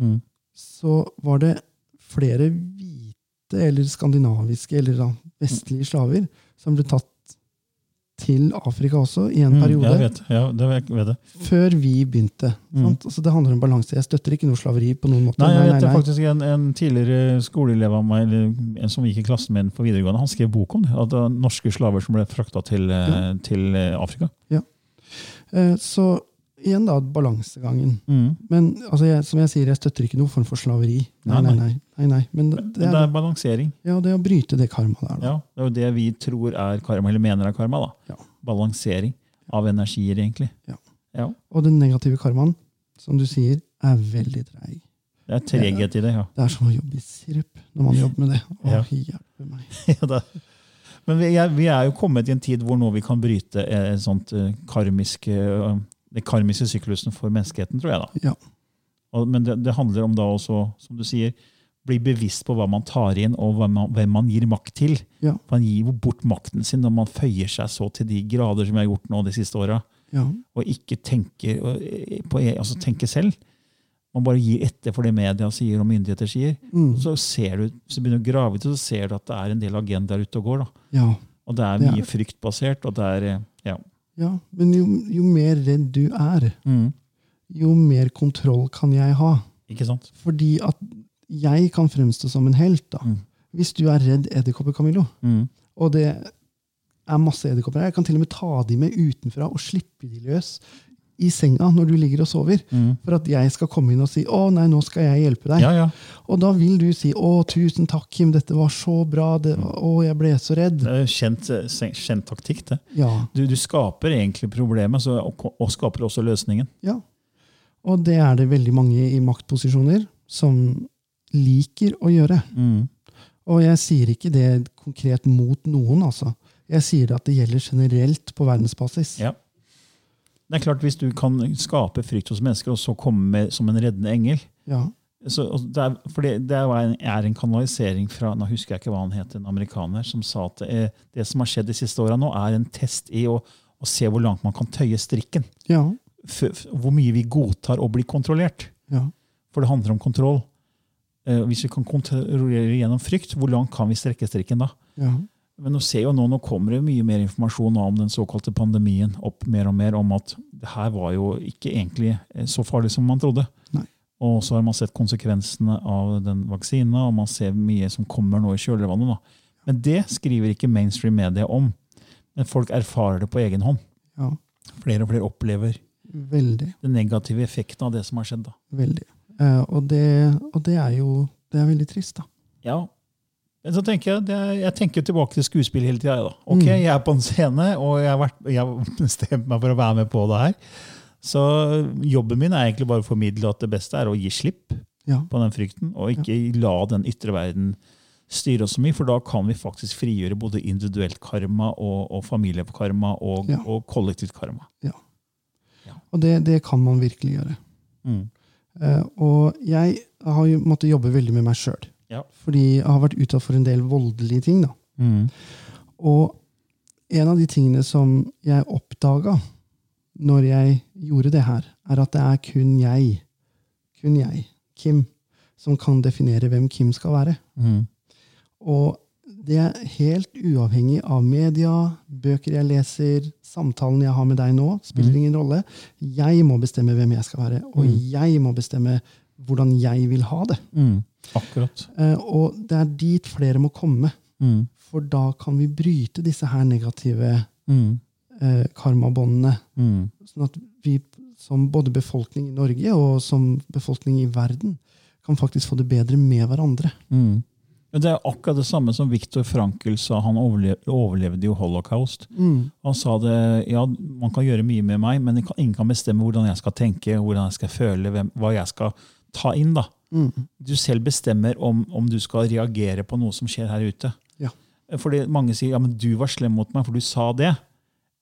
[SPEAKER 2] Mm.
[SPEAKER 3] så var det flere hvite, eller skandinaviske, eller da vestlige slaver som ble tatt til Afrika også, i en
[SPEAKER 2] Mm.
[SPEAKER 3] periode
[SPEAKER 2] Jeg vet, ja, det vet, jeg vet det.
[SPEAKER 3] før vi begynte. Sant? Altså, det handler om balanse. Jeg støtter ikke noe slaveri på noen måte.
[SPEAKER 2] Mm. Nei, jeg vet det
[SPEAKER 3] nei.
[SPEAKER 2] faktisk en, en tidligere skoleelev av meg, eller en som gikk i klassen min på videregående, han skrev bok om det. At det var norske slaver som ble frakta til, eh, til eh, Afrika.
[SPEAKER 3] Eh, Så igjen da, balansegangen. Men altså, jeg, som jeg sier, jeg støtter ikke noen form for slaveri. Nei,
[SPEAKER 2] Nei,
[SPEAKER 3] nei,
[SPEAKER 2] nei.
[SPEAKER 3] nei. nei, nei. Men det,
[SPEAKER 2] Det
[SPEAKER 3] er,
[SPEAKER 2] er balansering.
[SPEAKER 3] ja, det er å bryte det karmaet der. Da.
[SPEAKER 2] Ja, det er jo det vi tror er karma, eller mener er karma. da.
[SPEAKER 3] Ja.
[SPEAKER 2] Balansering av energier, egentlig.
[SPEAKER 3] Ja.
[SPEAKER 2] Ja,
[SPEAKER 3] Og den negative karmaen, som du sier, er veldig treig.
[SPEAKER 2] Det er treghet i det, ja.
[SPEAKER 3] Det er som å jobbe i sirup når man jobber med det. Å,
[SPEAKER 2] Ja.
[SPEAKER 3] hjelpe meg.
[SPEAKER 2] Ja, <laughs> det er- Men vi er, vi er jo kommet i en tid hvor nå vi kan bryte eh, et sånt eh, karmisk, eh, den karmiske syklusen for menneskeheten, tror jeg. da.
[SPEAKER 3] Ja.
[SPEAKER 2] Og, men det, det handler om da også, som du sier, bli bevisst på hva man tar inn, og hvem man, hvem man gir makt til.
[SPEAKER 3] Ja.
[SPEAKER 2] Man gir jo bort makten sin når man føyer seg så til de grader som vi har gjort nå de siste åra.
[SPEAKER 3] Ja.
[SPEAKER 2] Og ikke tenke, eh, på, e- altså tenke selv. Man bare gir etter for det media sier og myndigheter sier.
[SPEAKER 3] Mm.
[SPEAKER 2] Så, ser du, så begynner du å grave i det, så ser du at det er en del agendaer ute og går. da.
[SPEAKER 3] ja.
[SPEAKER 2] Og det er
[SPEAKER 3] Det er
[SPEAKER 2] mye fryktbasert, og det er eh, ja.
[SPEAKER 3] ja. Men jo, jo mer redd du er,
[SPEAKER 2] Mm.
[SPEAKER 3] jo mer kontroll kan jeg ha.
[SPEAKER 2] Ikke sant?
[SPEAKER 3] Fordi at jeg kan fremstå som en helt, da.
[SPEAKER 2] Mm.
[SPEAKER 3] Hvis du er redd edderkopper, Camillo,
[SPEAKER 2] Mm.
[SPEAKER 3] og det er masse edderkopper her, jeg kan til og med ta de med utenfra og slippe de løs i senga når du ligger og sover,
[SPEAKER 2] Mm.
[SPEAKER 3] for at jeg skal komme inn og si 'Å, nei, nå skal jeg hjelpe deg'.
[SPEAKER 2] Ja, ja.
[SPEAKER 3] Og da vil du si 'Å, tusen takk, Kim, dette var så bra', det,
[SPEAKER 2] Mm.
[SPEAKER 3] 'Å, jeg ble så redd'.
[SPEAKER 2] Det er jo kjent, eh, sen- kjent taktikk, det.
[SPEAKER 3] Ja,
[SPEAKER 2] Du, du skaper egentlig problemet, så, og, ko- og skaper også løsningen.
[SPEAKER 3] ja. Og det er det veldig mange i maktposisjoner som liker å gjøre.
[SPEAKER 2] Mm.
[SPEAKER 3] Og jeg sier ikke det konkret mot noen, altså. Jeg sier det at det gjelder generelt på verdensbasis.
[SPEAKER 2] Ja. Det er klart, hvis du kan skape frykt hos mennesker, og så komme med som en reddende engel
[SPEAKER 3] Ja.
[SPEAKER 2] så, og det er, for det, det er jo en- er en kanalisering fra Nå husker jeg ikke hva han het, en amerikaner som sa at eh, det som har skjedd de siste åra nå, er en test i å, å se hvor langt man kan tøye strikken.
[SPEAKER 3] Ja.
[SPEAKER 2] F f- hvor mye vi godtar å bli kontrollert.
[SPEAKER 3] ja.
[SPEAKER 2] For det handler om kontroll. Eh, hvis vi kan kontrollere gjennom frykt, hvor langt kan vi strekke strikken da?
[SPEAKER 3] ja.
[SPEAKER 2] Men nå ser jo nå, nå kommer det mye mer informasjon nå om den såkalte pandemien opp mer og mer om at det her var jo ikke egentlig eh, så farlig som man trodde.
[SPEAKER 3] Nei.
[SPEAKER 2] Og så har man sett konsekvensene av den vaksinen, og man ser mye som kommer nå i kjølvannet. Da. Men det skriver ikke mainstream media om. Men folk erfarer det på egen hånd.
[SPEAKER 3] ja.
[SPEAKER 2] Flere og flere opplever
[SPEAKER 3] Veldig.
[SPEAKER 2] den negative effekten av det som har skjedd. da.
[SPEAKER 3] Veldig. Eh, og, det, og det er jo Det er veldig trist, da.
[SPEAKER 2] Ja. Men så tenker jeg, det er, jeg tenker tilbake til skuespill hele tida. Da. Ok, jeg er på en scene, og jeg har, vært, jeg har <laughs> bestemt meg for å være med på det her. Så jobben min er egentlig bare å formidle at det beste er å gi slipp
[SPEAKER 3] Ja.
[SPEAKER 2] på den frykten, og ikke la den ytre verden styre oss så mye, for da kan vi faktisk frigjøre både individuelt karma og, og familiekarma og,
[SPEAKER 3] Ja.
[SPEAKER 2] og kollektivt karma.
[SPEAKER 3] ja.
[SPEAKER 2] Ja.
[SPEAKER 3] Og det, det kan man virkelig gjøre.
[SPEAKER 2] Mm.
[SPEAKER 3] Eh, og jeg har jo måttet jobbe veldig med meg sjøl.
[SPEAKER 2] Ja.
[SPEAKER 3] Fordi jeg har vært utsatt for en del voldelige ting. da.
[SPEAKER 2] Mm.
[SPEAKER 3] Og en av de tingene som jeg oppdaga når jeg gjorde det her, er at det er kun jeg, kun jeg, Kim, som kan definere hvem Kim skal være.
[SPEAKER 2] Mm.
[SPEAKER 3] Og det er helt uavhengig av media, bøker jeg leser, samtalen jeg har med deg nå, spiller ingen rolle. Jeg må bestemme hvem jeg skal være, og jeg må bestemme hvordan jeg vil ha det.
[SPEAKER 2] Mm. Akkurat.
[SPEAKER 3] Eh, Og det er dit flere må komme,
[SPEAKER 2] Mm.
[SPEAKER 3] for da kan vi bryte disse her negative
[SPEAKER 2] Mm.
[SPEAKER 3] eh, karmabåndene.
[SPEAKER 2] Mm.
[SPEAKER 3] Sånn at vi som både befolkning i Norge og som befolkning i verden kan faktisk få det bedre med hverandre.
[SPEAKER 2] Mm. Men Det er akkurat det samme som Viktor Frankl sa. Han overle- overlevde jo holocaust. Han sa det, ja, man kan gjøre mye med meg, men ingen kan bestemme hvordan jeg skal tenke, hvordan jeg skal føle, hvem, hva jeg skal ta inn. da. Du selv bestemmer om, om du skal reagere på noe som skjer her ute.
[SPEAKER 3] Ja.
[SPEAKER 2] Fordi Mange sier ja, men du var slem mot meg, for du sa det.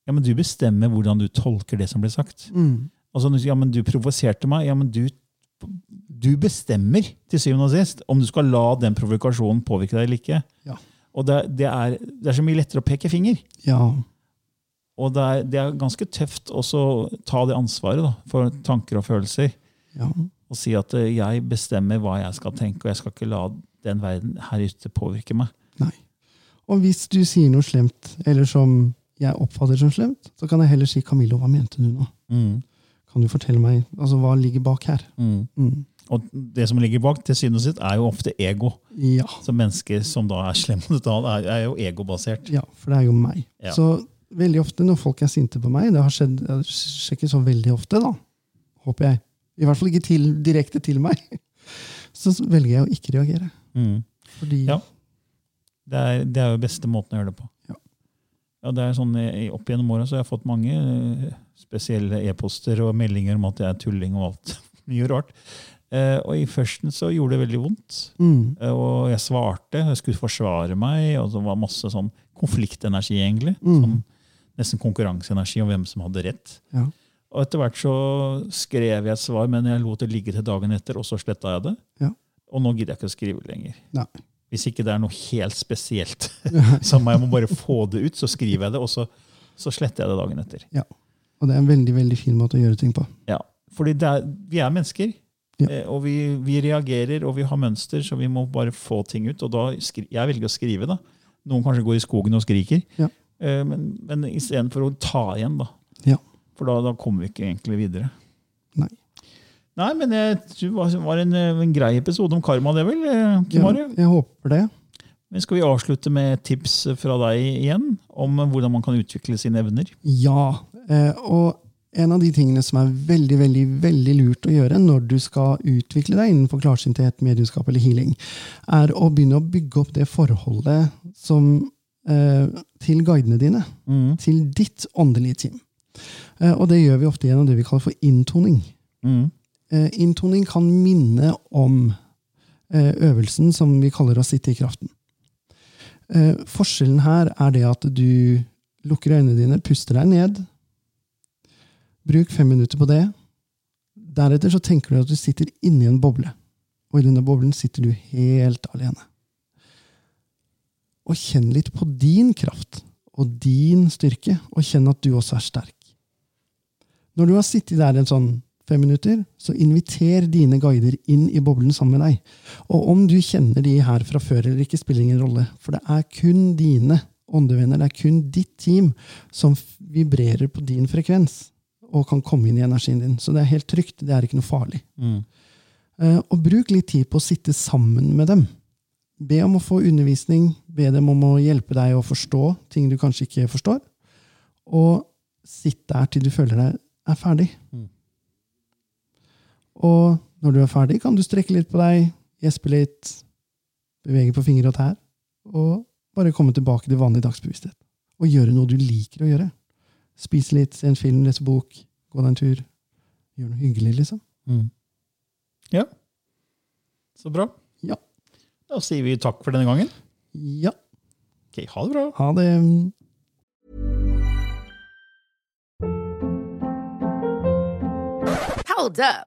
[SPEAKER 2] Ja, men Du bestemmer hvordan du tolker det som ble sagt. Altså, du sier, ja, men Du provoserte meg. Ja, men du, du bestemmer til syvende og sist om du skal la den provokasjonen påvirke deg eller ikke.
[SPEAKER 3] Ja.
[SPEAKER 2] Og det, det, er, det er så mye lettere å peke finger.
[SPEAKER 3] Ja,
[SPEAKER 2] Og det er, det er ganske tøft også å ta det ansvaret da, for tanker og følelser.
[SPEAKER 3] ja.
[SPEAKER 2] Og si at eh, jeg bestemmer hva jeg skal tenke, og jeg skal ikke la den verden her ute påvirke meg.
[SPEAKER 3] Nei. Og hvis du sier noe slemt, eller som jeg oppfatter som slemt, så kan jeg heller si 'Camillo, hva mente du nå?' Kan du fortelle meg altså, hva ligger bak her? Mm.
[SPEAKER 2] Og det som ligger bak, til syvende og sist, er jo ofte ego.
[SPEAKER 3] Ja.
[SPEAKER 2] Så mennesker som da er slemme <laughs> mot et annet, er, er jo egobasert.
[SPEAKER 3] ja, for det er jo meg.
[SPEAKER 2] Ja.
[SPEAKER 3] Så veldig ofte når folk er sinte på meg Det har skjedd det skjer ikke så veldig ofte, da. Håper jeg. I hvert fall ikke til, direkte til meg. <laughs> Så velger jeg å ikke reagere.
[SPEAKER 2] Mm.
[SPEAKER 3] Fordi
[SPEAKER 2] Ja. Det er, det er jo beste måten å gjøre det på.
[SPEAKER 3] Ja.
[SPEAKER 2] Ja, det er sånn, eh, Opp gjennom åra har jeg fått mange eh, spesielle e-poster og meldinger om at jeg er tulling og alt. <laughs> Mye rart. Eh, og i førsten så gjorde det veldig vondt.
[SPEAKER 3] Mm,
[SPEAKER 2] Eh, og jeg svarte, jeg skulle forsvare meg, og det var masse sånn konfliktenergi, egentlig.
[SPEAKER 3] Mm.
[SPEAKER 2] Sånn, nesten konkurranseenergi om hvem som hadde rett.
[SPEAKER 3] ja.
[SPEAKER 2] Og etter hvert så skrev jeg et svar, men jeg lot det ligge til dagen etter, og så sletta jeg det.
[SPEAKER 3] Ja.
[SPEAKER 2] Og nå gidder jeg ikke å skrive lenger.
[SPEAKER 3] Nei.
[SPEAKER 2] Hvis ikke det er noe helt spesielt <laughs> som jeg må bare få det ut, så skriver jeg det, og så, så sletter jeg det dagen etter.
[SPEAKER 3] ja. Og det er en veldig, veldig fin måte å gjøre ting på.
[SPEAKER 2] Ja, fordi det er, vi er mennesker,
[SPEAKER 3] Ja.
[SPEAKER 2] eh, og vi, vi reagerer, og vi har mønster, så vi må bare få ting ut. Og da skri, jeg velger å skrive, da. Noen kanskje går i skogen og skriker.
[SPEAKER 3] Ja.
[SPEAKER 2] Eh, men men istedenfor å ta igjen, da.
[SPEAKER 3] Ja.
[SPEAKER 2] For da, da kommer vi ikke egentlig videre.
[SPEAKER 3] Nei.
[SPEAKER 2] Nei, men jeg tror det var- var en, eh, en grei episode om karma, det vel, eh, Kim
[SPEAKER 3] Ja,
[SPEAKER 2] Are?
[SPEAKER 3] jeg håper det.
[SPEAKER 2] Men skal vi avslutte med et tips fra deg igjen om hvordan man kan utvikle sine evner?
[SPEAKER 3] Ja. eh, Og en av de tingene som er veldig veldig, veldig lurt å gjøre når du skal utvikle deg innenfor klarsynthet, mediumskap eller healing, er å begynne å bygge opp det forholdet som, eh, til guidene dine.
[SPEAKER 2] Mm,
[SPEAKER 3] Til ditt åndelige team. Eh, Og det gjør vi ofte gjennom det vi kaller for inntoning.
[SPEAKER 2] mm.
[SPEAKER 3] Eh, Inntoning kan minne om eh, øvelsen som vi kaller å sitte i kraften. Eh, forskjellen her er det at du lukker øynene dine, puster deg ned. Bruk fem minutter på det. Deretter så tenker du at du sitter inni en boble. Og i denne boblen sitter du helt alene. Og kjenn litt på din kraft og din styrke, og kjenn at du også er sterk. Når du har sittet der en sånn fem minutter, så inviter dine guider inn i boblen sammen med deg. Og om du kjenner de her fra før eller ikke, spiller ingen rolle. For det er kun dine åndevenner, det er kun ditt team, som f- vibrerer på din frekvens. Og kan komme inn i energien din. Så det er helt trygt. Det er ikke noe farlig. Eh, Og bruk litt tid på å sitte sammen med dem. Be om å få undervisning. Be dem om å hjelpe deg å forstå ting du kanskje ikke forstår. Og sitt der til du føler deg er ferdig. Og når du er ferdig, kan du strekke litt på deg, gjespe litt, bevege på fingre og tær, og bare komme tilbake til vanlig dagsbevissthet. Og gjøre noe du liker å gjøre. Spise litt, se en film, lese bok, gå deg en tur. Gjøre noe hyggelig, liksom.
[SPEAKER 2] Mm. Ja. Så bra.
[SPEAKER 3] Ja.
[SPEAKER 2] Da sier vi takk for denne gangen.
[SPEAKER 3] Ja,
[SPEAKER 2] Ok, ha det bra.
[SPEAKER 3] ha det.
[SPEAKER 4] Hold up.